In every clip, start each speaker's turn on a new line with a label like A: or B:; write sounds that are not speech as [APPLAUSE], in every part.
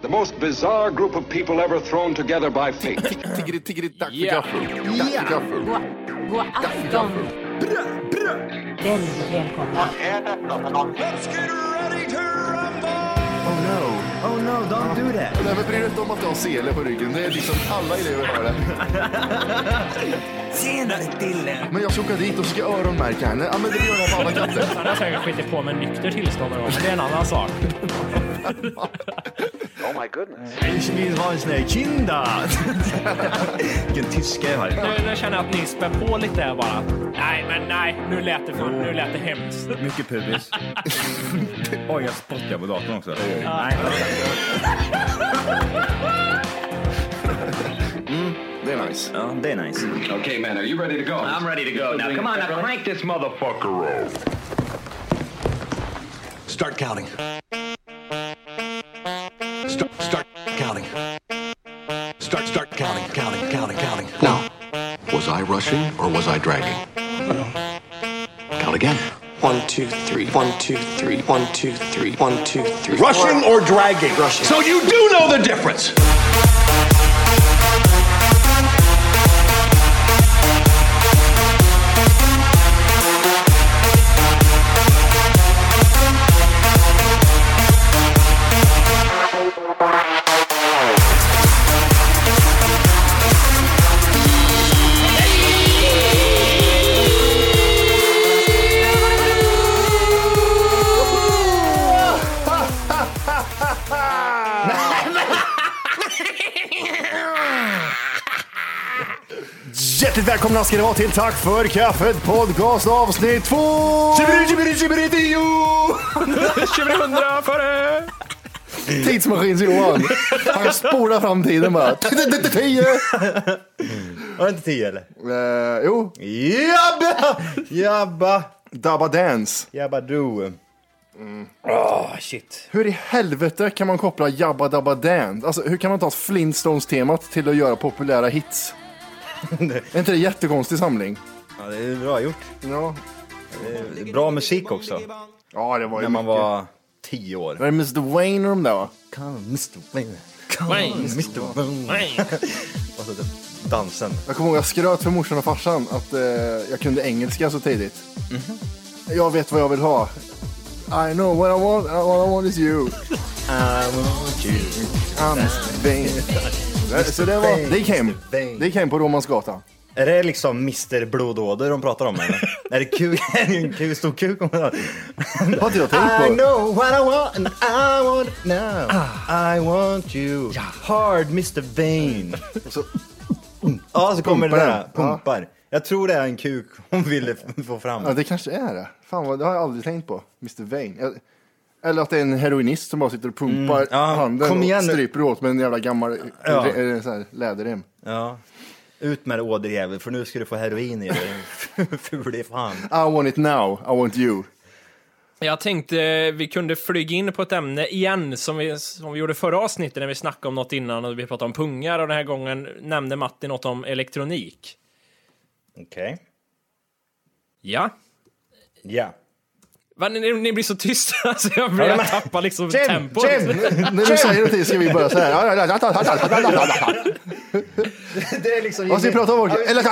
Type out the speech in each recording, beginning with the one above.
A: The most bizarre group of people ever thrown together by fate.
B: Tiggeri, tiggeri, dack för
C: Ja.
B: gaffel. Dack för gaffel.
D: God, god afton. Väldigt välkomna.
B: Oh no.
E: Oh no, don't do that.
B: Nej, men bry dig inte om att du har sele på ryggen. Det är liksom alla elever har det.
E: Senare Dille.
B: Men jag ska åka dit och ska öronmärka henne. Ja, men det gör jag på alla katter.
C: Han har säkert skitit på med nykter tillstånd någon gång, men det är en annan sak.
E: Ich vill ha en sån här
F: [LAUGHS]
E: kinda. Vilken tyska jag har.
C: Nu, nu känner jag att ni spär på lite här bara. Nej, men nej, nu lät det, för, nu lät det hemskt.
G: Mycket pubis. Oj, jag spottar på datorn också. Nej,
B: Det är nice.
G: ja, det är nice.
A: okay, man, are you ready to go?
F: I'm ready to go now. Come on, now crank this motherfucker up.
H: Start counting. Start, start counting. Start, start counting, counting, counting, counting.
A: Now, was I rushing or was I dragging? Count again.
I: One, two, three. One, two, three. One, two, three. One, two, three.
H: Rushing or dragging?
I: Rushing.
H: So you do know the difference.
B: Hjärtligt välkomna ska ni vara till Tack för kaffet podcast avsnitt två! Tjibiri, tjibiri, tjibiri, tio!
C: 2100 före!
B: Tidsmaskins-Johan. Han spolar fram tiden bara. Tio!
G: Var det inte tio eller?
B: Eh, Jo.
G: Jabba! Jabba!
B: Dabba Dance.
G: Jabba du. Åh, shit.
B: Hur i helvete kan man koppla Jabba Dabba Dance? Alltså hur kan man ta Flintstones-temat till att göra populära hits? är inte det en jättekonstig samling?
G: Ja, det är bra gjort.
B: Ja.
G: Det är Bra musik också.
B: Ja, det var ju
G: När man
B: mycket.
G: var tio år.
B: Var det Mr Wayne och de där va?
G: Come, Mr. Wayne. Come, Mr. Wayne. [LAUGHS] Och så typ dansen.
B: Jag kommer ihåg jag skröt för morsan och farsan att eh, jag kunde engelska så tidigt.
G: Mhm.
B: Jag vet vad jag vill ha. I know what I want, what I want is you.
G: I want you.
B: I'm Bane. Så det var, det gick hem.
G: Bane.
B: Det gick hem på Romansgatan.
G: Är det liksom Mr. Blodåder de pratar om eller? är det kuk? [LAUGHS] Är det en kuk, stor kuk?
B: Har inte jag tänkt
G: I
B: på.
G: know what I want and I want it now
B: Ah.
G: I want you hard Mr. Bane
B: Så,
G: [LAUGHS] Ja, så kommer det
B: Pumpar
G: där.
B: den.
G: Pumpar. Jag tror det är en kuk hon ville f- få fram.
B: ja, det kanske är det. Fan, vad, det har jag aldrig tänkt på. Mr Vane. Jag- Eller att det är en heroinist som bara sitter och pumpar
G: Mm. ja,
B: handen
G: kom igen
B: och
G: nu.
B: stryper åt med en jävla gammal
G: Ja.
B: re, eh, så här, läderrem.
G: Ja. Ut med dig åderjävel, för nu ska du få heroin i dig. [LAUGHS] Ful i fan.
B: I want it now, I want
G: [LAUGHS]
B: you.
C: Jag tänkte eh, vi kunde flyga in på ett ämne igen som vi, som vi gjorde förra avsnittet när vi snackade om något innan och vi pratade om pungar och den här gången nämnde Matti något om elektronik.
G: Okej.
C: Ja.
G: Ja.
C: Va, ni, ni blir så tysta [LAUGHS] så jag börjar tappa liksom tempot.
B: När du säger någonting ska vi börja så här.
G: [LAUGHS] Det är liksom
B: Och så vi
G: Jimmy,
B: pratar om vårt... Eller...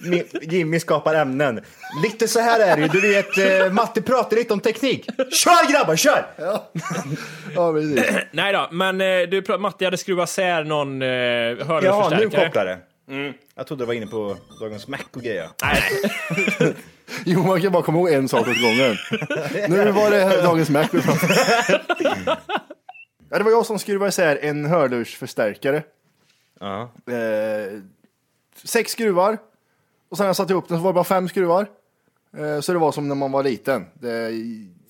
G: Mi- Jimmy skapar ämnen. Lite så här är det ju, du vet, eh, Matte pratar lite om teknik. Kör grabbar, kör!
B: Ja, precis.
C: Nej då, men eh, du, pra- Matti hade skruvat isär någon eh,
G: Ja, nu
C: hörlurförstärkare.
G: kopplar det. Mm. Jag trodde du var inne på dagens Mac och grejer.
B: [LAUGHS] Jo, man kan bara komma ihåg en sak åt gången. Nu var det dagens Mac vi pratade om. ja, Det var jag som skruvade isär en hörlursförstärkare.
G: Ja.
B: Eh, sex skruvar. Och sen när jag satte ihop den så var det bara fem skruvar. Eh, så det var som när man var liten. Det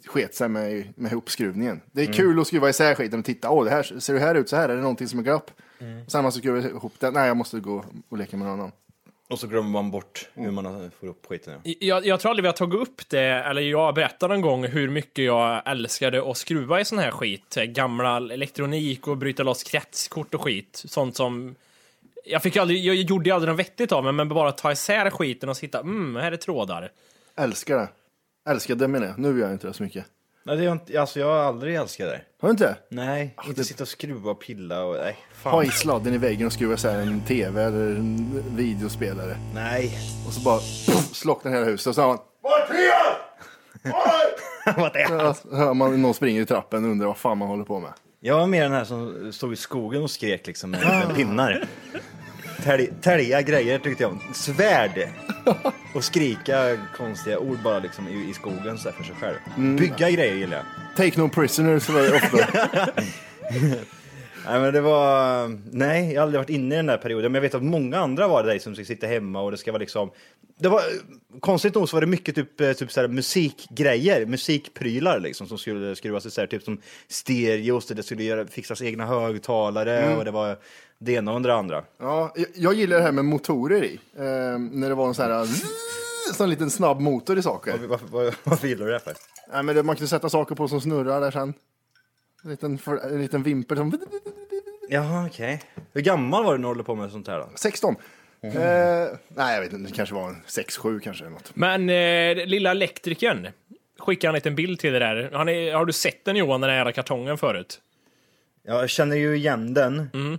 B: sket sig med, med ihopskruvningen. Det är kul att skruva isär skiten och titta. Åh, det här, ser det här ut så här? Är det någonting som är glapp? Och sen när man ska skruva ihop den. Nej, jag måste gå och leka med någon annan.
G: Och så glömmer man bort hur man får upp skiten. ja.
C: Jag, jag tror aldrig vi har tagit upp det, eller jag berättade någon gång hur mycket jag älskade att skruva i sån här skit. Gamla elektronik och bryta loss kretskort och skit. Sånt som... Jag, fick aldrig, jag gjorde ju aldrig något vettigt av mig, men bara ta isär skiten och sitta, mm, här är trådar.
B: Älskar det. Älskade menar jag. Nu gör jag inte det så mycket.
G: Nej, det är jag inte, alltså jag har aldrig älskat det.
B: Har du inte?
G: Nej, inte sitta och skruva och pilla och nej. Fan.
B: Ha i sladden i väggen och skruva isär en tv eller en videospelare.
G: Nej.
B: Och så bara slocknar hela huset och så hör man,
G: [LAUGHS] Vad är det?
B: så hör man någon springer i trappen och undrar vad fan man håller på med.
G: Jag var mer den här som stod i skogen och skrek liksom med, med pinnar. Tälj- Tälja grejer tyckte jag om. Svärd! Och skrika konstiga ord bara liksom i, i skogen så här för sig själv. Bygga grejer gillar jag.
B: Take no prisoners var det ofta.
G: Nej men det var, nej jag har aldrig varit inne i den där perioden. Men jag vet att många andra var det där som ska sitta hemma och det ska vara liksom. Det var, konstigt nog så var det mycket typ, eh, typ så här musikgrejer, musikprylar liksom som skulle skruvas isär. Typ som stereos, det skulle göra, fixas egna högtalare och det var det ena och det andra.
B: ja, jag- jag gillar det här med motorer i. Eh, när det var en sån här zzz, sån liten snabb motor i saker.
G: Varför, var, varför gillar du det här för?
B: Nej, men det, man kunde sätta saker på som snurrar där sen. En liten, för, en liten vimpel som...
G: Jaha okej. Hur gammal var du när du håller på med sånt här då?
B: 16. Eh, nej, jag vet inte. Det kanske var en 6-7 kanske. eller Något.
C: Men eh, lilla elektrikern skickade en liten bild till det där. Han är, har du sett den Johan, den här jävla kartongen förut?
G: Ja, jag känner ju igen den.
C: Mm.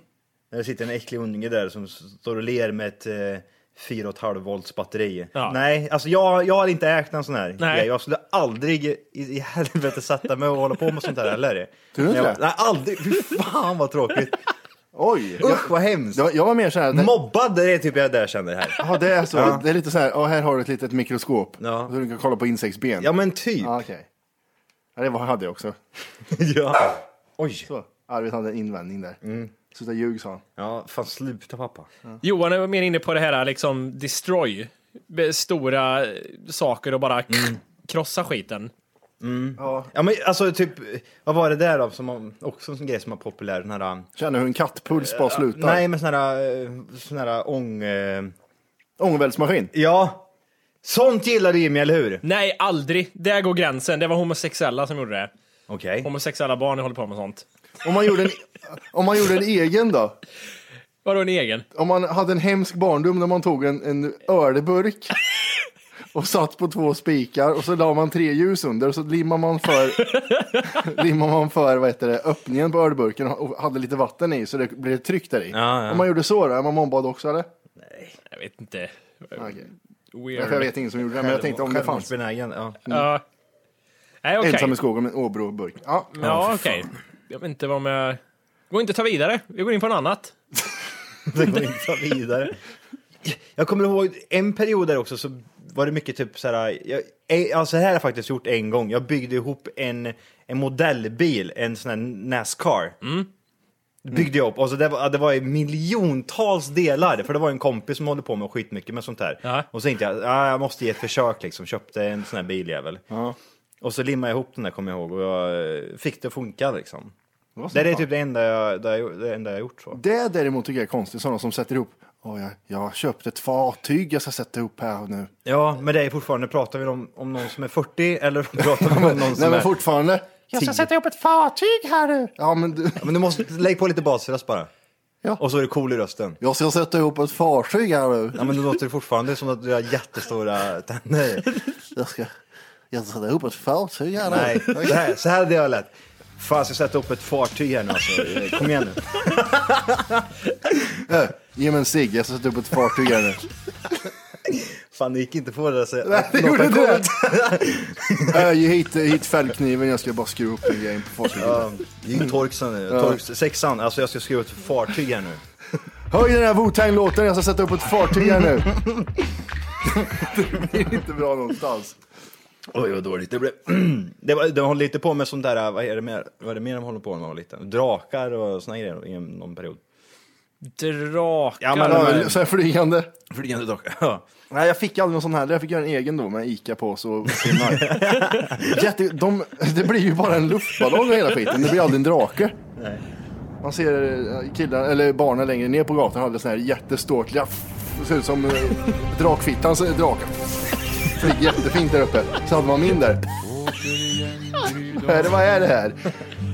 G: Där sitter en äcklig unge där som s- står och ler med ett eh, 4,5 volts batteri.
C: Ja.
G: Nej, alltså jag, jag har inte ägt en sån här
C: Nej.
G: grej. Jag skulle aldrig i, i [LAUGHS] helvete sätta mig och hålla på med sånt här heller.
B: Tror du inte
G: Jag-
B: det?
G: Nej, aldrig. Fy fan vad tråkigt.
B: Oj! Jag,
G: Usch vad hemskt.
B: jag, jag var mer så här... Det,
G: Mobbad, det är typ jag där känner här.
B: ja, det, är så, det är lite så här, ja, här har du ett litet mikroskop.
G: Ja.
B: Så du kan kolla på insektsben.
G: Ja men typ.
B: Ja, okej. Ja, det var, hade jag också.
G: [LAUGHS] Ja. Oj.
B: Så, Arvid hade en invändning där.
G: Mm.
B: Sluta ljug sa han.
G: Ja, fan sluta pappa.
C: Johan är mer inne på det här liksom destroy. Be- Stora eh, saker och bara krossa skiten.
G: Ja men alltså typ, vad var det där då som man, också en sån grej som var populär, den här
B: Känner hur en kattpuls bara slutar.
G: Eh, Nej, men sån här, eh, sån här ång... eh,
B: Ångvältsmaskin.
G: Ja, sånt gillar du Jimmy, eller hur?
C: Nej, aldrig. Där går gränsen. Det var homosexuella som gjorde det.
G: Okej.
C: Homosexuella barn håller på med sånt.
B: Om man, gjorde en, om man gjorde en egen då?
C: Vadå en egen?
B: Om man hade en hemsk barndom när man tog en, en ölburk och satt på två spikar och så la man tre ljus under och så limmar man
G: [LAUGHS]
B: för, limmar man för vad heter det, öppningen på ölburken och hade lite vatten i så det blev ett tryck där i.
G: Ja, ja.
B: Om man gjorde så då, är man mobbad också eller?
C: Jag vet inte.
B: Okej.
C: Weird.
B: Jag vet ingen som gjorde det men jag tänkte om det fanns.
G: Självmordsbenägen, ja.
C: Ja. Nej, okej.
B: Ensam i skogen med en Åbroburk. Ja.
C: Ja, okej. Jag vet inte vad om jag... Gå inte att ta vidare. Vi går in på något annat.
G: Det går inte att ta vidare. Jag kommer ihåg en period där också så var det mycket typ så här... Jag, eh, alltså det här har jag faktiskt gjort en gång. Jag byggde ihop en, en modellbil, en sån här Nascar. Byggde jag upp. Och så det, var, det var i miljontals delar. För det var en kompis som håller på med skitmycket med sånt här.
C: Ja.
G: Och så tänkte jag, ah, jag måste ge ett försök liksom. Köpte en sån här biljävel. Och så limmade jag ihop den där kommer jag ihåg. Och jag eh, fick det att funka liksom.
B: var så
G: Det, är
B: fan.
G: typ det enda jag, det jag, det enda jag gjort så.
B: Det däremot tycker jag är konstigt, sådana som sätter ihop. Åh, jag, jag har köpt ett fartyg jag ska sätta ihop här nu.
G: Ja, men det är fortfarande, pratar vi om, om någon som är 40 eller [LAUGHS] pratar vi om någon som
B: Nej men
G: är...
B: fortfarande. Jag
G: ska sätta
B: ihop ett fartyg här nu. Ja men du.
G: Men du måste lägga på lite basröst bara.
B: Ja.
G: Och så är du cool i rösten.
B: Jag ska sätta ihop ett fartyg här nu.
G: Ja, men då låter det fortfarande som att du har jättestora [LAUGHS] tänder.
B: Jag ska, jag ska sätta ihop ett fartyg här
G: Nej,
B: nu.
G: så här, så här hade jag lätt. Fan, jag ska sätta upp ett fartyg här nu alltså. Kom igen nu.
B: Ge mig en cigg, jag ska sätta ihop ett fartyg här nu.
G: Fan, det gick inte på det där. Så...
B: Nej, det gjorde inte det. Äh, Ge hit, hit fällkniven, jag ska bara skruva upp en grej på fartyget.
G: Ja, det är ju Torxen nu. Torx, sexan, alltså jag ska skriva ett fartyg här nu.
B: Höj den här Wu-Tang-låten, jag ska sätta upp ett fartyg här nu. det blir inte bra någonstans.
G: Oj, vad dåligt det blev. [CLEARS THROAT] det var, de håller lite på med sånt där, vad är det mer, vad är det mer de håller på med när man var liten? Drakar och såna grejer i en- någon period.
C: Drakar.
G: Ja, men-
B: Ja, så här flygande.
G: Flygande drakar. [LAUGHS] Ja.
B: Nej, jag fick aldrig någon sån här. Jag fick göra en egen då med Ica-påse och pinnar. Jätte, de, det blir ju bara en luftballong och hela skiten. Det blir aldrig en drake. Man ser eh, killar, eller barnen längre ner på gatan hade sån här jätteståtliga... f- Det ser ut som eh, drakfittans eh, drake. Flyger jättefint där uppe. Så hade man min där. Vad är det- Vad är det här?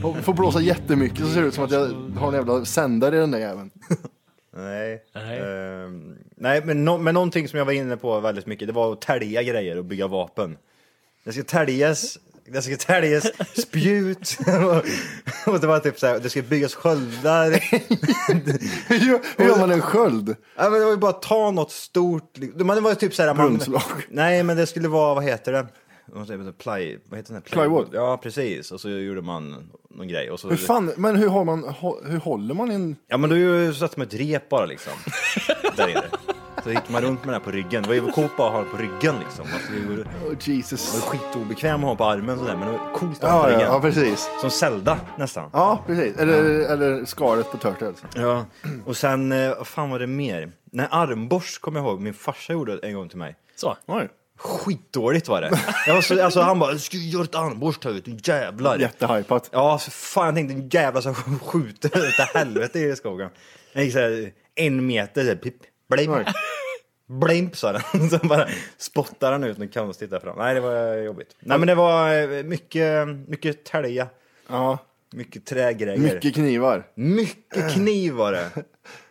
B: Och Får blåsa jättemycket så ser det ut som att jag har en jävla sändare i den där jäveln. [LAUGHS]
G: Nej.
C: Nej.
G: Ehm, nej, men, no, men någonting som jag var inne på väldigt mycket, det var att tälja grejer och bygga vapen. Det ska täljas Det ska täljas spjut [LAUGHS] och, och det var typ så här, det ska byggas sköldar.
B: Hur hur gör man en sköld?
G: Ja, men det var ju bara ta något stort. liksom. Man det var ju typ så här. Man,
B: Brunnslock.
G: nej, men det skulle vara, vad heter det? Vad heter det? Ply, vad heter den här?
B: Plywood.
G: Ja, precis. Och så gjorde man någon grej. Och så,
B: Hur fan, men hur, har man, hå- hur håller man en...
G: Ja, men då satte man ett rep bara liksom. [LAUGHS] Där inne. Så gick man runt med den här på ryggen. Det var ju coolt bara att ha den på ryggen liksom. Alltså, det var-
B: Oh,
G: det var
B: Jesus.
G: skitobekväm att ha på armen sådär, men det var coolt att ha
B: Ja,
G: på
B: ja,
G: ryggen.
B: ja, precis.
G: Som Zelda nästan.
B: Ja, precis. Eller, eller skalet på alltså. Turtles.
G: Ja, och sen, eh, vad fan var det mer? Nej, armborst kommer jag ihåg, min farsa gjorde en gång till mig.
C: Så.
B: Oj.
G: Skitdåligt var det. Jag var så, alltså, han bara, ska du göra ett armborst här vet du, jävlar.
B: Jättehypat.
G: Ja, så fan jag tänkte, en jävla som [LAUGHS] skjuter utav helvete i skogen. Den gick så här, en meter, så här, pip, blimp, blimp sa den. [LAUGHS] Så bara spottar han ut något konstigt där fram. Nej, det var jobbigt. Nej, men det var eh, mycket, mycket tälja,
B: Ja.
G: mycket trägrejer.
B: Mycket knivar.
G: Mycket kniv var det.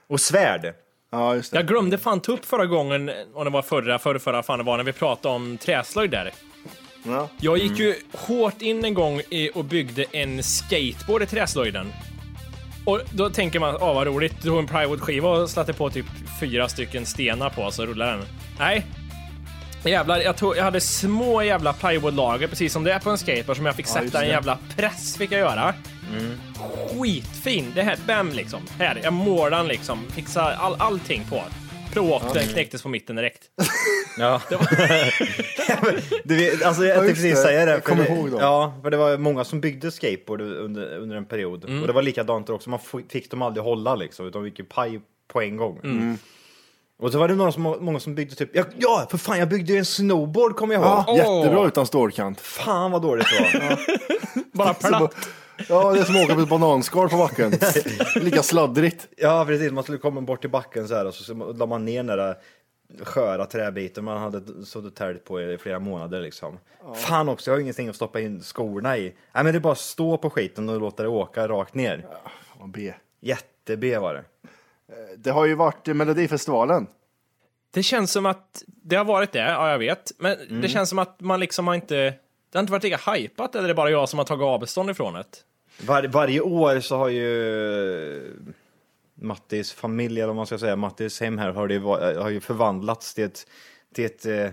G: Och svärd.
B: Ja, just det.
C: Jag glömde fan ta upp förra gången, om det var förra, förra, förra fan det var, när vi pratade om träslöjd där.
B: Ja.
C: Jag gick ju hårt in en gång i, och byggde en skateboard i träslöjden. Och då tänker man, ah vad roligt, du tog en plywoodskiva och slatte på typ fyra stycken stenar på så rullar den. Nej. Jävlar, jag, tog, jag hade små jävla plywoodlager precis som det är på en skateboard som jag fick
B: just
C: sätta en
B: det. Mm.
C: jävla press fick jag göra. Skitfin! Det här, bam liksom. Här, jag målade den liksom. Fixade all, allting på. Proakten knäcktes på mitten direkt.
G: Ja. [LAUGHS] du vet, alltså, jag
B: just
G: tänkte precis
B: det.
G: säga det.
B: Jag
G: för
B: kommer
G: det,
B: ihåg dem.
G: Ja, för det var många som byggde skateboard under, under en period. Och det var likadant där också, man f- fick dem aldrig hålla liksom, utan de gick ju paj på en gång.
B: Mm.
G: Och så var det några som, många som byggde typ, ja, ja för fan jag byggde ju en snowboard kommer jag ihåg.
B: Ja, Jättebra utan stålkant.
G: Fan vad dåligt det var.
B: [LAUGHS]
C: Bara platt.
B: Ja, det är som att åka på ett bananskal på backen. Lika sladdrigt.
G: Ja, precis. Man skulle komma bort till backen så här och så- så la man ner den där sköra träbiten man hade suttit tält på i flera månader liksom. Fan också, jag har ingenting att stoppa in skorna i. Nej, men det är bara att stå på skiten och låta det åka rakt ner.
B: Ja, B.
G: Jätte-B var det.
B: Det har ju varit i Melodifestivalen.
C: Det känns som att det har varit det, ja jag vet. Men
B: Mm.
C: det känns som att man liksom har inte... Det har inte varit lika hypat eller är det bara jag som har tagit avstånd ifrån det?
G: Var, varje år så har ju Mattis familj, eller vad man ska säga, Mattis hem här har, det, va- har ju förvandlats till ett, till ett, eh,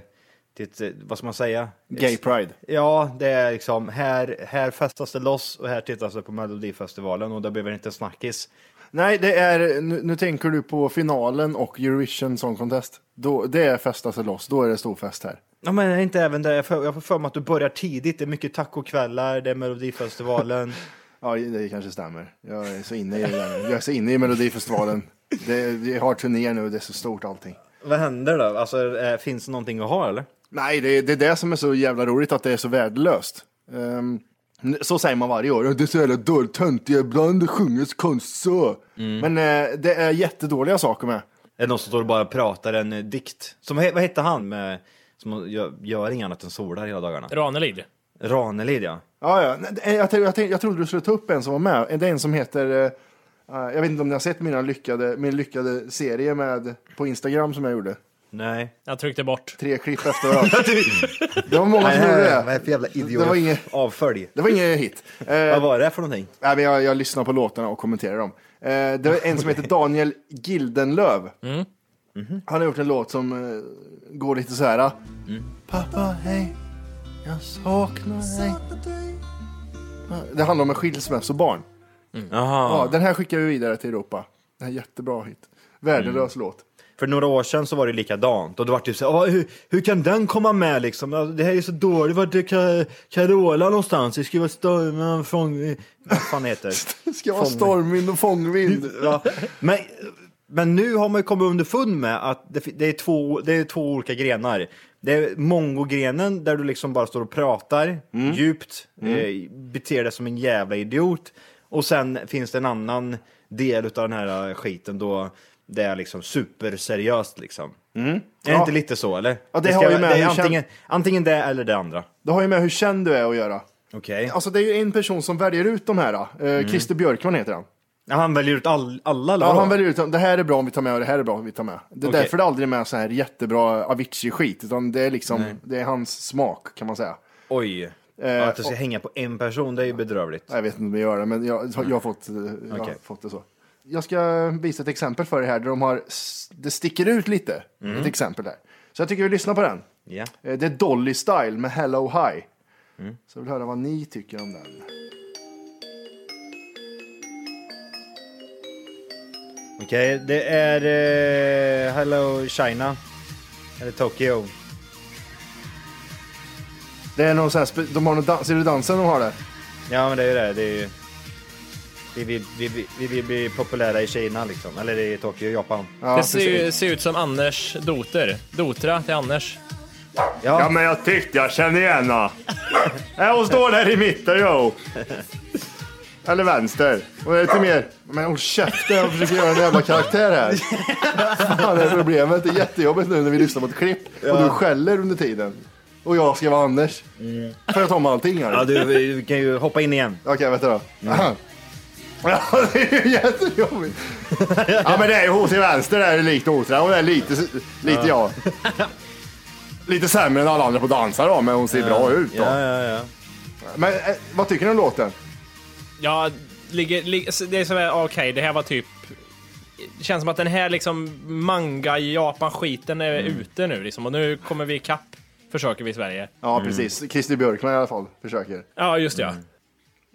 G: till ett, eh, vad ska man säga?
B: Gay Pride.
G: Ja, det är liksom här, här festas det loss och här tittas det på Melodifestivalen och det behöver inte snackis.
B: Nej, det är, nu, nu tänker du på finalen och Eurovision Song Contest. Då, det är festa sig loss, då är det stor fest här.
G: Ja, men inte även det. Jag får jag får för mig att du börjar tidigt. Det är mycket tacokvällar, det är Melodifestivalen.
B: Ja, det kanske stämmer. Jag är så inne i det där. nu. Jag är så inne i Melodifestivalen. Det, vi har turné nu, det är så stort allting.
G: [LAUGHS] Vad händer då? Alltså, eh, finns det någonting att ha eller?
B: Nej, det, det är det som är så jävla roligt, att det är så värdelöst. Ehm, så säger man varje år. Det är så jävla dåligt, töntiga, ibland sjunges konst så. Men eh, det är jättedåliga saker med.
G: Är det någon som står och bara pratar en eh, dikt? Som, he- vad hette han med, som gör, gör inget annat än solar hela dagarna?
C: Ranelid.
G: Ranelid ja.
B: Ja, ja. Nej, Jag, jag, jag, tänkte- jag trodde du skulle ta upp en som var med. Det är en som heter, eh, eh, jag vet inte om ni har sett mina lyckade, min lyckade serie med, på Instagram som jag gjorde.
G: Nej.
C: Jag tryckte bort.
B: Tre klipp efter varandra. det var många som gjorde
G: Vad är
B: det.
G: det för jävla idiot?
B: Det var inget-
G: Avfölj.
B: Det var ingen hit. Eh,
G: [LAUGHS] Vad var det för någonting?
B: Nej, men jag, jag lyssnar på låtarna och kommenterar dem. Eh, det är en
G: [LAUGHS]
B: som heter Daniel Gildenlöv.
G: Mm.
B: Mm-hmm. Han har gjort en låt som eh, går lite så här. ah.
G: Mm.
B: Pappa, hej. Jag saknar dig. Ah, Det handlar om en skilsmässobarn.
G: Jaha.
B: Ja, den här skickar vi vidare till Europa. Det här är jättebra hit. Värdelös
G: Mm.
B: låt. [LAUGHS]
G: För några år sedan så var det likadant och då var det typ så här, "Ah, hur, hur kan den komma med liksom? Ja, Det här är så dåligt, vart är Ka- Carola någonstans? Det ska vara stormen från... Vad fan heter
B: Det ska vara
G: Fång-
B: stormvind och fångvind.
G: [LAUGHS] ja. men, men nu har man ju kommit underfund med att det, fi- det, är två, det är två olika grenar. Det är mongo-grenen där du liksom bara står och pratar
B: Mm.
G: djupt, Eh, beter dig som en jävla idiot. Och sen finns det en annan del av den här eh, skiten då det är liksom superseriöst liksom. Är det
B: Mm. Ja.
G: inte lite så eller?
B: Ja, det har ju med
G: det är
B: hur kän-
G: antingen, antingen det eller det andra.
B: Det har ju med hur känd du är att göra.
G: Okej.
B: Alltså det är ju en person som väljer ut de här. Eh,
G: Mm.
B: Christer Björkman heter han.
G: Ja, han väljer ut all, alla eller
B: Ja,
G: vadå?
B: han väljer ut, det här är bra om vi tar med och det här är bra om vi tar med. Det är
G: Okej.
B: därför det aldrig är med så här jättebra Avicii-skit, utan det är liksom, det är hans smak kan man säga.
G: Oj. Ja, att det ska hänga på en person, det är ju bedrövligt.
B: Jag vet inte om jag gör det, men jag, jag, har, fått, eh, jag har
G: Okej.
B: fått det så. Jag ska visa ett exempel för er här där de har, det sticker ut lite. Ett exempel där. Så jag tycker vi lyssnar på den.
G: Ja.
B: Eh, Det är Dolly Style med Hello High. Så jag vill höra vad ni tycker om den.
G: Okej, det är eh, Hello China. Eller Tokyo.
B: Det är någon sån här, spe- de har någon dans, ser du dansen de har där?
G: Ja, men det är ju det. det är ju... Vi vill, vi, vill, vi vill bli populära i Kina liksom, eller i Tokyo, Japan.
B: Ja,
C: det ser,
B: precis.
C: ju, ser ut som Anders doter. Dotra till Anders.
B: Ja, men jag tyckte jag kände igen henne. Äh, Hon står där i mitten, jo. Eller vänster. Och det är lite mer... Men håll käften, jag försöker göra en jävla karaktär här. Fan, det är problemet. Det är jättejobbigt nu när vi lyssnar på ett klipp och du skäller under tiden. Och jag ska vara Anders. Får jag ta om allting här?
G: Ja, du, vi kan ju hoppa in igen.
B: Okej, vänta då.
G: Mm.
B: Aha. Ja, [LAUGHS] det är ju
G: [LAUGHS]
B: jättejobbigt. Ja, men det är ju hon till vänster där, är likt Otra. Hon är lite, lite
G: [LAUGHS]
B: jag. Lite sämre än alla andra på dansar då, men hon ser bra ut då.
G: Ja, ja, ja.
B: Men eh, vad tycker ni om låten?
C: Ja, ligger, ligger, det är som är okej, det här var typ... Det känns som att den här liksom manga-Japan-skiten är
B: Mm.
C: ute nu liksom. Och nu kommer vi ikapp, försöker vi i Sverige.
B: Ja,
G: Mm.
B: precis. Christer Björkman i alla fall försöker.
C: Ja, just det ja.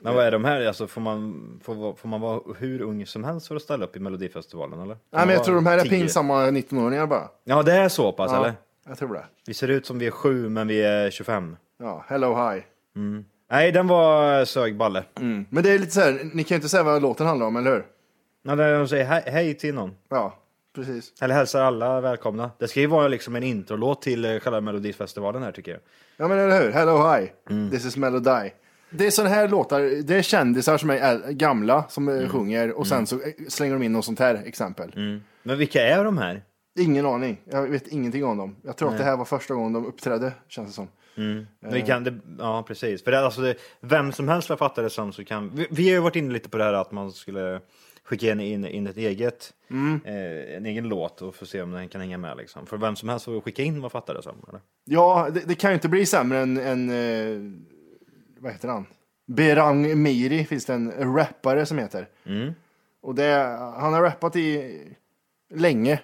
G: Men vad är de här? Alltså, får, man, får, får man vara hur ung som helst för att ställa upp i Melodifestivalen eller? Får
B: Nej,
G: man
B: men jag
G: vara
B: tror de här är
G: 10?
B: pinsamma 19-åringar bara.
G: Ja, det är så pass
B: Ja,
G: eller?
B: jag tror det.
G: Vi ser ut som vi är sju, men vi är 25.
B: Ja, hello hi.
G: Nej, den var sög balle.
B: Men det är lite så här, ni kan ju inte säga vad låten handlar om, eller hur?
G: Ja, där de säger hej, hej till någon.
B: Ja, precis.
G: Eller hälsar alla välkomna. Det ska ju vara liksom en introlåt till eh, själva Melodifestivalen här tycker jag.
B: Ja, men eller hur? Hello hi. This is Melody. Det är sådana här låtar, det är kändisar som är äl- gamla som eh, sjunger och sen så eh, slänger de in något sånt här exempel.
G: Men vilka är de här?
B: Ingen aning, jag vet ingenting om dem. Jag tror att det här var första gången de uppträdde, känns det som.
G: Vi kan, det, ja, precis. För det, alltså, det, vem som helst jag fattar det som så kan... Vi, vi har ju varit inne lite på det här att man skulle skicka in, in, in ett eget, eh, en egen låt och få se om den kan hänga med. Liksom. För vem som helst får skicka in vad fattar det som. Eller?
B: Ja, det, det kan ju inte bli sämre än, än eh, vad heter han? Berang Miri finns det en rappare som heter. Och det, han har rappat i länge,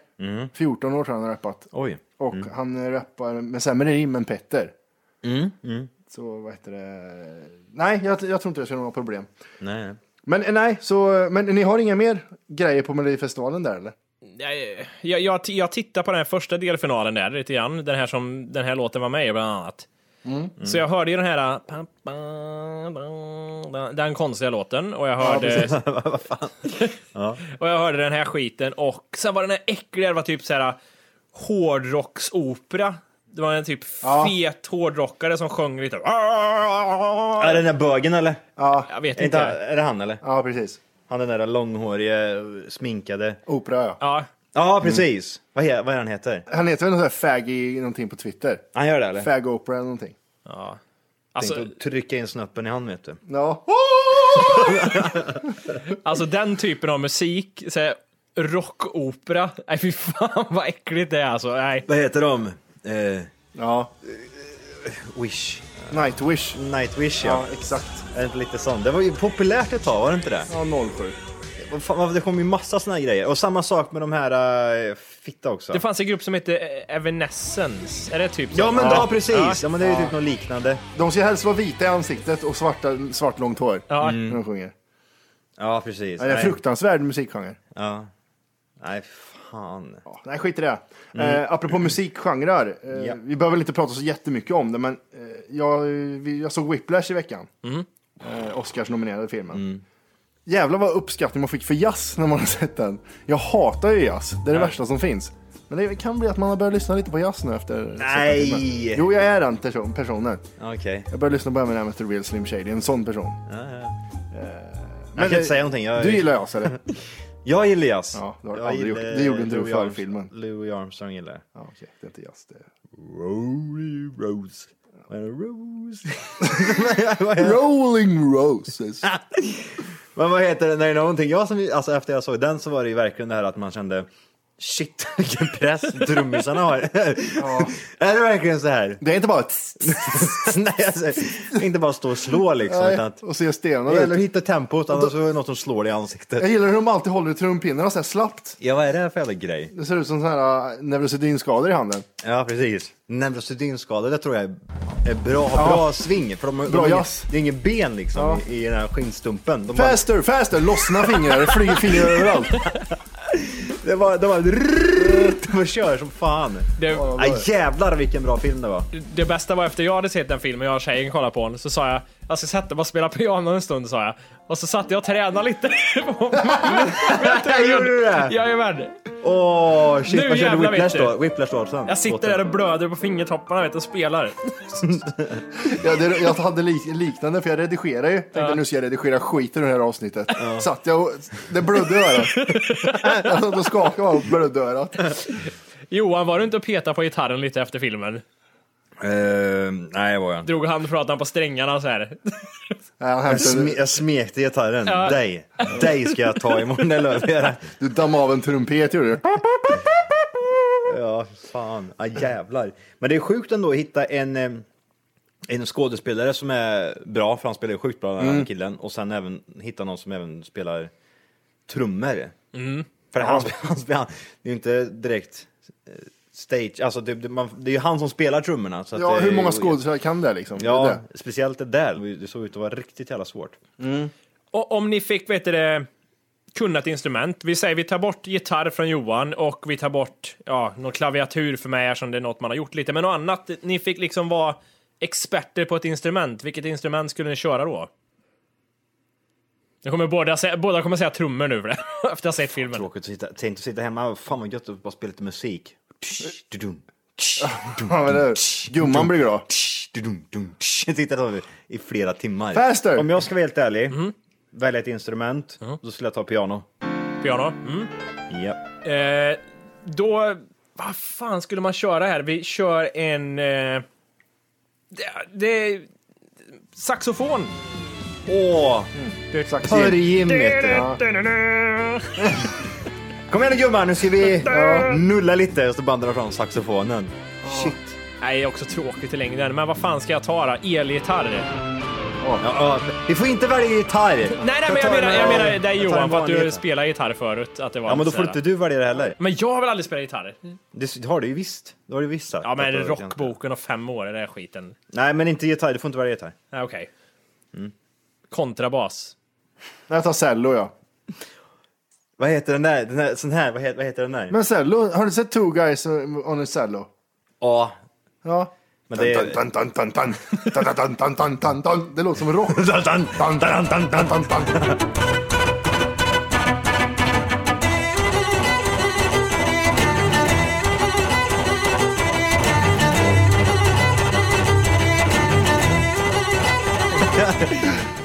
B: 14 år tror jag han har rappat.
G: Oj.
B: Och han rappar med sämre rim än Petter. Så vad heter det? Nej, jag, jag tror inte det skulle vara några problem.
G: Nej.
B: Men eh, nej, så, men ni har inga mer grejer på Melodifestivalen där eller?
C: Jag, jag, jag, jag tittar på den här första delfinalen där lite grann. Den här som den här låten var med i bland annat. Mm. Så jag hörde ju den här... pam, pam, pam, den- Den konstiga låten och jag hörde... [LAUGHS] och jag hörde den här skiten och sen var den här äckliga, det var typ så här hårdrocksopera. Det var en typ fet hårdrockare som sjöng lite...
G: Är det den där bögen eller?
C: Jag vet
G: Är, inte,
C: inte.
G: är det han eller?
B: Ja, precis.
G: Han den där långhårige, sminkade.
B: Opera ja.
C: Ja,
G: Ja, precis. Vad, he, vad är han heter?
B: Han heter väl något sånt här faggy någonting på Twitter?
G: Han gör det eller?
B: Fag opera eller någonting.
C: alltså,
G: Tänkte att trycka in snoppen i han vet du.
B: Ja.
C: Alltså den typen av musik, så här, rockopera. Nej fy fan vad äckligt det är alltså. Nej.
G: Vad heter de? Eh,
B: ja.
G: Wish.
B: Nightwish.
G: Nightwish ja.
B: Ja, exakt.
G: Är det inte lite sånt? Det var ju populärt ett tag, var det inte det?
B: Ja, 07.
G: Vad fan, vad- Det kom ju massa såna här grejer. Och samma sak med de här eh, fitta också.
C: Det fanns en grupp som hette eh, Evanescence. Är det typ så?
G: Ja men ja, precis! Ja.
C: Ja.
G: men det är ju typ något liknande.
B: De ska helst vara vita i ansiktet och svarta, svart långt hår.
C: Ja.
B: När de sjunger.
G: Ja precis.
B: Ja, det är en fruktansvärd musikgenre.
G: ja. Nej fan.
B: Ja, nej, skit i det. Eh, apropå musikgenrer. Eh,
G: Mm. Ja.
B: Vi behöver väl inte prata så jättemycket om det, men eh, jag, vi, jag såg Whiplash i veckan.
G: Mm.
B: Eh, Oscars nominerade filmen. Jävlar vad uppskattning man fick för jazz när man har sett den. Jag hatar ju jazz, det är det värsta som finns. Men det kan bli att man har börjat lyssna lite på jazz nu efter...
G: Nej.
B: sett den filmen. Jo, jag är den person, personen.
G: Okej.
B: Jag började lyssna på Eminem efter Real Slim Shady, en sån person. Eh,
G: Jag kan
B: det-
G: inte säga någonting. Jag,
B: Du gillar jazz eller?
G: jag gillar jazz.
B: Ja, det har du
G: jag
B: aldrig
G: gillar
B: gjort. Det gjorde inte du
G: Louis
B: för
G: Armstrong-
B: filmen.
G: Louis Armstrong gillar jag.
B: ja, okej, det är inte jazz. Det är...
G: Rolly Rose. When a
B: [LAUGHS]
G: rose.
B: Rolling Roses.
G: Men vad heter det, när det är någonting, jag som, alltså efter jag såg den så var det ju verkligen det här att man kände Shit, [LAUGHS] vilken press trummisarna har. [LAUGHS] Är det verkligen så
B: [LAUGHS]
G: här? [LAUGHS]
B: Det är inte bara ett...
G: Nej, alltså, inte bara stå och slå liksom. Utan att,
B: och se
G: det
B: stenar liksom.
G: gäller
B: ut.
G: att hitta tempot, annars är det något som slår dig i
B: Jag
G: ansiktet.
B: gillar hur de alltid håller i trumpinnarna så här slappt.
G: Ja, vad är det här för jävla grej?
B: Det ser ut som så här äh, neurosedynskador i handen.
G: Ja, precis. Neurosedynskada, det tror jag är bra, har bra sving. För de,
B: Bra
G: de,
B: jazz.
G: Det är inget ben liksom i, i den här skinnstumpen. De bara,
B: Faster, faster! Lossna fingrar, det flyger fingrar överallt.
G: det var, [LAUGHS] de bara, de bara kör som fan.
C: Det,
G: Ah, jävlar vilken bra film det var.
C: det bästa var efter jag hade sett den filmen, jag och tjejen kollade på den, så sa jag jag ska sätta mig och spela piano en stund, sa jag. Och så satt jag och tränade lite. på-
G: Gjorde du det?
C: Jajamän!
G: Åh, shit.
C: Nu
G: vad körde
C: jävlar
G: Whiplash
C: vet du.
G: då? Whiplash då? sen?
C: Jag sitter där och blöder på fingertopparna vet, du, och spelar.
B: Ja, det, jag hade lik, liknande, för jag redigerar ju. Tänkte nu ska jag redigera skiten ur det här avsnittet. Satt jag och... Det blödde i örat. [LAUGHS] Jag satt och skakade bara och blödde i örat.
C: Johan, var du inte och petade på gitarren lite efter filmen?
G: Eh, nej, det var jag inte.
C: Drog handflatan på strängarna så här.
B: Nej, han
G: Jag,
B: hämtade,
G: sme jag smekte gitarren.
C: Ja.
G: Dig. Dig ska jag ta imorgon, det lovar jag.
B: du dammade av en trumpet gjorde du.
G: Ja, fan. Ja, jävlar. Men det är sjukt ändå att hitta en, eh, en skådespelare som är bra, för han spelar ju sjukt bra den här killen, och sen även hitta någon som även spelar trummor.
C: Mm.
G: För han, han, han, det är ju inte direkt eh, stage, alltså det, det, man, det är ju han som spelar trummorna. Så att
B: Ja,
G: det,
B: hur många skådespelare kan det liksom? Det
G: Ja,
B: är det.
G: speciellt det där. Det såg ut att vara riktigt jävla svårt.
C: Och om ni fick, vet du det, kunna ett instrument. Vi säger vi tar bort gitarr från Johan och vi tar bort ja, någon klaviatur för mig eftersom det är något man har gjort lite. Men något annat, ni fick liksom vara experter på ett instrument. Vilket instrument skulle ni köra då? Jag kommer båda, säga, båda kommer säga trummor nu för det, [LAUGHS] efter att ha sett filmen.
G: Tråkigt att sitta, tänk att sitta hemma, fan vad gött att bara spela lite musik. Tsch, du-dum, tsch, du-dum,
B: Ja, men det gumman blir glad.
G: tsch, du-dum, dum, tsch. Jag tittar på det i flera timmar. Mm.
B: Faster!
G: Om jag ska vara helt ärlig, välja ett instrument, då skulle jag ta piano.
C: Piano. Mm.
G: Ja.
C: Eh, då, vad fan skulle man köra här? Vi kör en... Eh, det, det, saxofon!
G: Åh!
B: Mm, Exakt.
G: Örjim heter det.
B: [LAUGHS]
G: Kom igen nu gumman, nu ska vi nulla lite. Och så bandar de fram saxofonen.
C: Nej, också tråkigt i längden. Men vad fan ska jag ta då? Elgitarr?
G: Ja, ja. Vi får inte välja gitarr.
C: Nej, nej, men jag menar, jag menar dig
G: tar
C: Johan,
G: en
C: för att
G: vanlig
C: du
G: gitarr.
C: spelar gitarr förut. Att det var
G: Ja, men då
C: lite
G: får
C: sådär.
G: inte du välja det heller.
C: Men jag har väl aldrig spelat gitarr?
G: Det har du ju visst. Det har du visst sagt.
C: Ja, men
G: Att du-
C: rockboken och fem år, är det där skiten.
G: Nej, men inte gitarr. Du får inte välja gitarr.
C: Nej, okej.
G: Mm.
C: Kontrabas.
B: Nej, Jag tar cello ja.
G: Vad heter den där? Den där sån här, vad heter, vad heter den där?
B: Men cello, har du sett Two Guys on a Cello?
G: ja,
B: Ja.
G: men det är...
B: Dun, dun, dun, dun, dun, dun, dun, dun, dun, dun, dun. Det låter som
G: [LAUGHS]
B: rock. Dun, dun, dun, dun, dun, dun.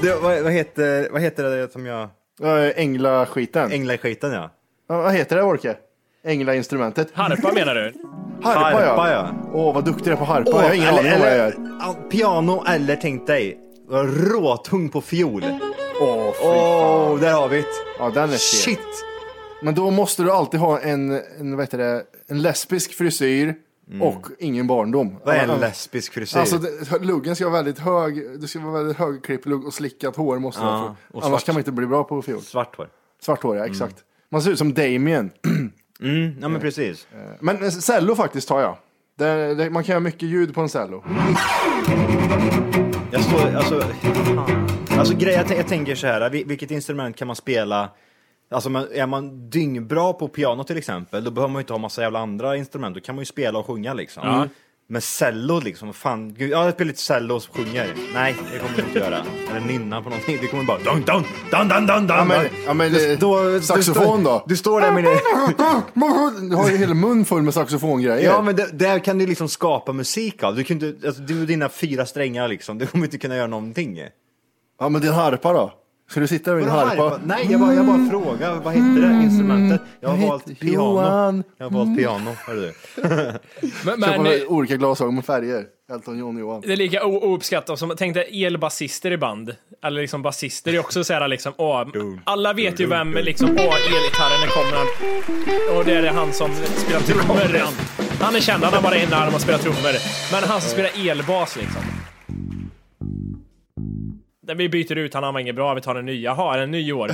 G: Det, vad, vad, heter, vad heter det som jag...
B: Eh, Änglaskiten.
G: Änglaskiten ja.
B: Ja, vad heter det Orke? Änglainstrumentet.
C: Harpa menar du?
B: Harpa, ja.
G: Harpa, ja.
B: Åh, vad duktig jag är på harpa. jag har ingen
G: eller-
B: aning om vad jag gör.
G: eller- ja, Piano eller tänk dig, vara råtung på fiol.
B: Åh, fy
G: Åh, där har vi det.
B: Ja, den är fet.
G: Shit!
B: Men då måste du alltid ha en, en, vad heter det, en lesbisk frisyr och ingen barndom.
G: Mm. Vad är
B: Ja,
G: en lesbisk frisyr?
B: Alltså, det- luggen ska vara väldigt hög. Det ska vara väldigt högklippt lugg och slickat hår måste man
G: Ja,
B: få.
G: och
B: Annars
G: svart. Mm.
B: kan man inte bli bra på fiol.
G: Svart hår.
B: Svart hår, ja, exakt. Man ser ut som Damien.
G: Mm, ja men precis.
B: Men cello faktiskt tar jag. Det, det, man kan göra mycket ljud på en cello.
G: Jag står, alltså, fan. alltså grejen, jag, tän- jag tänker så här, vil- vilket instrument kan man spela? Alltså man, är man dyngbra på piano till exempel, då behöver man ju inte ha massa jävla andra instrument, då kan man ju spela och sjunga liksom. Men cello liksom, fan, gud, ja, jag spelar lite cello och sjunger. Nej, det kommer jag inte göra. Eller nynna på någonting, det kommer bara dun, dun, dun, dun, dun, dun.
B: Ja, men- ja, men det- saxofon
G: du,
B: då?
G: Du står där med det.
B: Du har ju hela mun full med saxofongrejer.
G: Ja, men det, där kan du liksom skapa musik av. Du, kan inte, alltså, du och dina fyra strängar liksom, du kommer inte kunna göra någonting.
B: Ja, men din harpa då? Ska du sitta där med din
G: Vadå
B: harpa?
G: harpa? Nej, jag bara, jag bara frågar. Vad hette det instrumentet? Jag har
B: Mm. Jag
G: valt
B: heter
G: piano.
B: Johan. Mm.
G: Jag har valt piano, hörde du.
C: Men,
B: Köpa
C: men,
B: olika glasögon med färger. Elton John Johan.
C: Det är lika o- ouppskattat som, tänk dig elbasister i band. Eller liksom basister är också så här liksom, åh, alla vet ju vem liksom, åh, elgitarren kommer. han. Och det är han som spelar trummor. Han, han är känd, han har bara en arm och spelar trummor. Men han som spelar elbas liksom. Den vi byter ut, han, han var inget bra, vi tar den nya. Jaha, är den ny
B: [LAUGHS]
C: i år?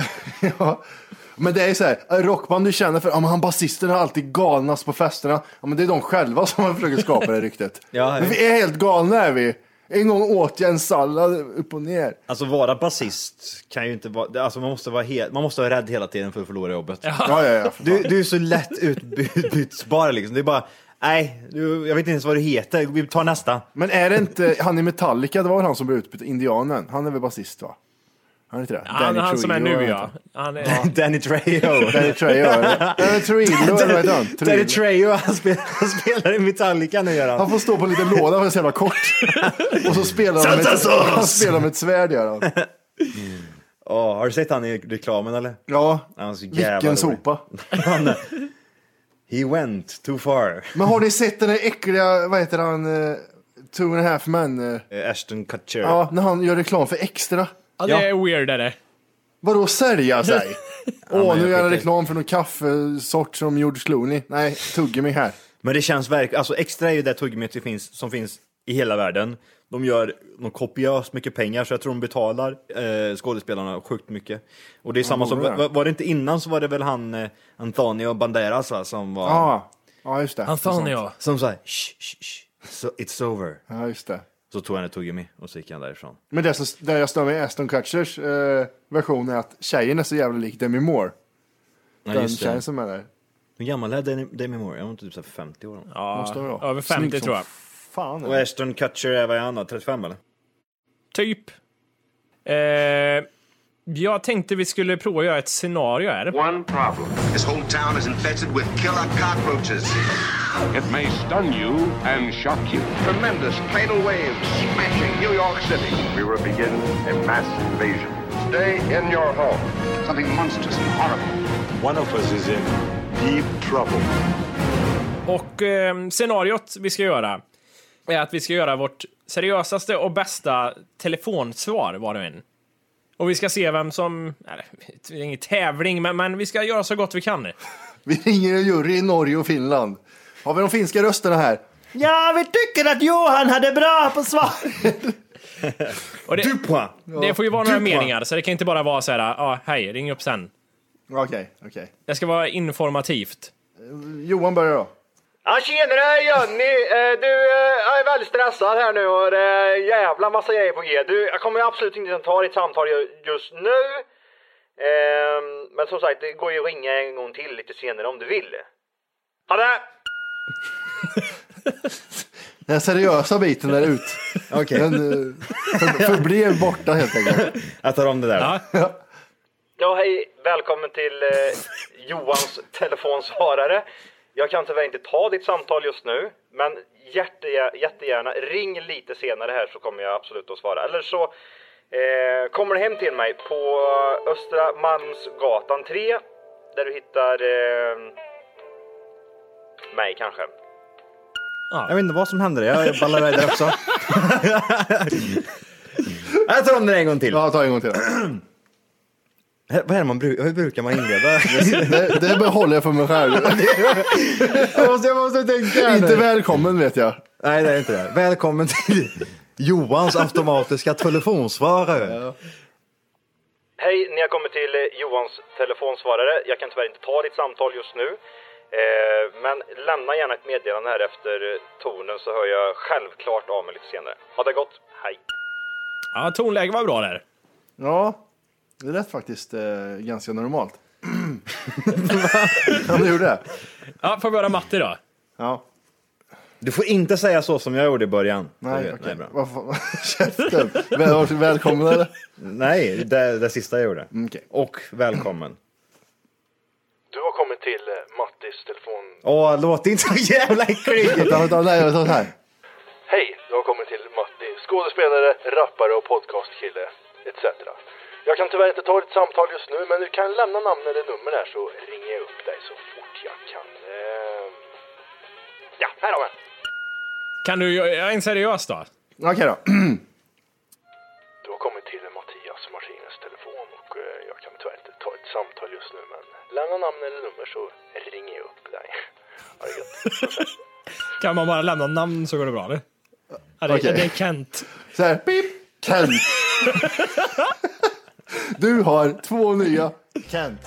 B: Men det är ju så här, rockband du känner för, ja men han basisten är alltid galnast på festerna. Ja men det är de själva som försöker skapa det ryktet.
G: [LAUGHS] Ja, ja.
B: Men vi är helt galna är vi. En gång åt jag en sallad upp och ner.
G: Alltså vara basist kan ju inte vara, alltså man måste vara, helt, man måste vara rädd hela tiden för att förlora jobbet.
B: Ja, ja, ja. för
G: Du,
B: fan.
G: du är så lätt utbytbar liksom. Det är bara, nej, du, jag vet inte ens vad du heter, vi tar nästa.
B: Men är det inte, han i Metallica, det var väl han som blev utbytt, indianen. Han är väl basist va? Han är inte det?
C: Han, han som är
B: Trujillo,
C: nu
B: heter
C: ja.
B: han.
C: Han är, ja.
G: Danny Trejo.
B: Danny Trejo, eller? [LAUGHS]
C: [LAUGHS]
B: Danny Trujillo, eller vad heter han?
G: Danny
B: Trujillo.
G: Trejo, han spelar, han spelar i Metallica nu gör han.
B: Han får stå på en liten låda för att jävla kort. Och så spelar han med ett, han spelar med ett svärd gör han.
G: Ja, har du sett han i reklamen eller?
B: Ja,
G: Han är så jävla
B: vilken
G: rolig.
B: sopa.
G: Han, he went too far.
B: Men har ni sett den där äckliga, vad heter han, eh, Two and a half men? eh,
G: Eh, Ashton Kutcher.
B: Ja, när han gör reklam för extra.
C: det är weird är det.
B: Vadå sälja sig? Åh,
G: men jag
B: nu gör han
G: skiter i.
B: reklam för någon kaffesort som George Clooney. Nej, tuggummi här.
G: Men det känns verkligen, alltså extra är ju det tuggummit som finns, som finns i hela världen. De gör de kopiöst mycket pengar så jag tror de betalar eh, skådespelarna sjukt mycket. Och det är samma som,
B: borde det.
G: var, var det inte innan så var det väl han eh, Antonio Banderas va, som var,
B: Ja, ah, ja just det.
C: Han fan jag.
G: som sa shh, shh, shh, so, it's over.
B: Ja, just det.
G: Så tog han ett tuggummi och så gick han därifrån.
B: Men det som där jag stör mig i Aston Kutchers eh, version är att tjejen är så jävla lik Demi Moore.
G: Ja,
B: Den
G: just
B: tjejen
G: det.
B: som är där.
G: Hur gammal är Demi- Demi Moore? Jag var inte typ så här 50 år. Ja.
B: Måste hon vara.
C: Över 50
B: Snygg som
C: tror jag.
B: Fan.
G: Och Ashton Kutcher är vad är han då? 35 eller?
C: Typ. Eh, jag tänkte vi skulle prova att göra ett scenario här.
F: One problem.
J: This whole town is infested with killer cockroaches.
F: It may stun you and shock you.
J: Tremendous tidal waves smashing New York City.
F: We will begin a mass invasion.
J: Stay in your home. Something monstrous and horrible.
F: One of us is in deep trouble.
C: Och eh, scenariot vi ska göra är att vi ska göra vårt seriösaste och bästa telefonsvar var och en. Och vi ska se vem som... Nej, det är ingen tävling, men, men vi ska göra så gott vi kan.
B: [LAUGHS] Vi ringer en jury i Norge och Finland. Har vi de finska rösterna här?
G: Ja, vi tycker att Johan hade bra på [LAUGHS] svar!
C: Och det,
G: Dupont!
C: det får ju vara några
B: Typ, va?
C: meningar, så det kan inte bara vara så här, ja, ah, hej, ring upp sen.
B: Okej, okej.
C: Det ska vara informativt.
B: Johan börjar då.
K: Ja, tjenare Johnny! Eh, Du, eh, jag är väldigt stressad här nu och det är jävla massa grejer på G. Du, jag kommer absolut inte att ta ditt samtal ju- just nu. Ehm, Men som sagt, det går ju att ringa en gång till lite senare om du vill. Ha det!
B: Den seriösa biten där ut.
G: Okej,
B: Den eh, för, förblev borta helt enkelt.
G: jag tar om det där.
C: Ja.
K: Ja, hej. Välkommen till eh, Johans telefonsvarare. Jag kan tyvärr inte ta ditt samtal just nu, men hjärte, jättegärna ring lite senare här så kommer jag absolut att svara. Eller så eh, kommer du hem till mig på Östra Malmsgatan 3 där du hittar eh, mig kanske.
G: Jag vet inte vad som hände, jag ballar iväg där också. [LAUGHS] jag tar om det en gång till.
B: Ja, ta en gång till.
G: Här- Vad är det man brukar, hur brukar man [LAUGHS] inleda?
B: Det, det behåller jag för mig själv.
G: jag, måste, jag måste tänka här
B: Inte
G: nu.
B: välkommen vet jag.
G: Nej, det är inte det. Välkommen till Johans automatiska telefonsvarare.
K: Hej, ni har kommit till eh, Johans telefonsvarare. Jag kan tyvärr inte ta ditt samtal just nu. Eh, men lämna gärna ett meddelande här efter eh, tonen så hör jag självklart av mig lite senare. Ha det gott, hej!
C: ja, tonläge var bra där.
B: Ja, det lät faktiskt eh, ganska
G: [LAUGHS]
B: normalt. ja, det gjorde det.
C: Ja, får vi höra Matti då?
B: Ja,
G: Du får inte säga så som jag gjorde i början. Du
B: nej,
G: vet,
B: okej.
G: nej, bra.
B: Vad fan, [LAUGHS] Käften. Väl, välkommen eller?
G: nej det, det sista jag gjorde.
B: okej.
G: Och välkommen.
K: Du har kommit till eh, Mattis telefon...
G: Åh, låt inte så jävla äcklig! [LAUGHS]
B: Utan, utan, nej, jag tar så här.
K: Hej, du har kommit till Matti, skådespelare, rappare och podcastkille, etc. Jag kan tyvärr inte ta ditt samtal just nu, men du kan lämna namn eller nummer här så ringer
L: Ehm,
K: jag upp dig så fort jag kan. Eh... Ja, här har vi!
C: Kan du, jag är en seriös då.
B: Okej då.
L: Du har kommit till Mattias Martinez telefon och eh, jag kan tyvärr inte ta ett samtal just nu men lämna namn eller nummer så ringer jag upp dig. Ha det gött.
C: Kan man bara lämna namn så går det bra eller? Ja, det,
B: Okej.
C: det är Kent.
B: Så här, pip, Kent. du har två nya.
G: Kent.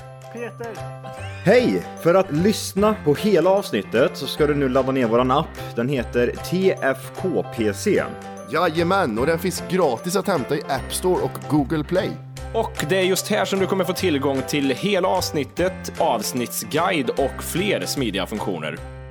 G: Hej! För att lyssna på hela avsnittet så ska du nu ladda ner våran app. Den heter TFKPC.
B: Jajamän, och den finns gratis att hämta i App Store och Google Play.
M: Och det är just här som du kommer få tillgång till hela avsnittet, avsnittsguide och fler smidiga funktioner.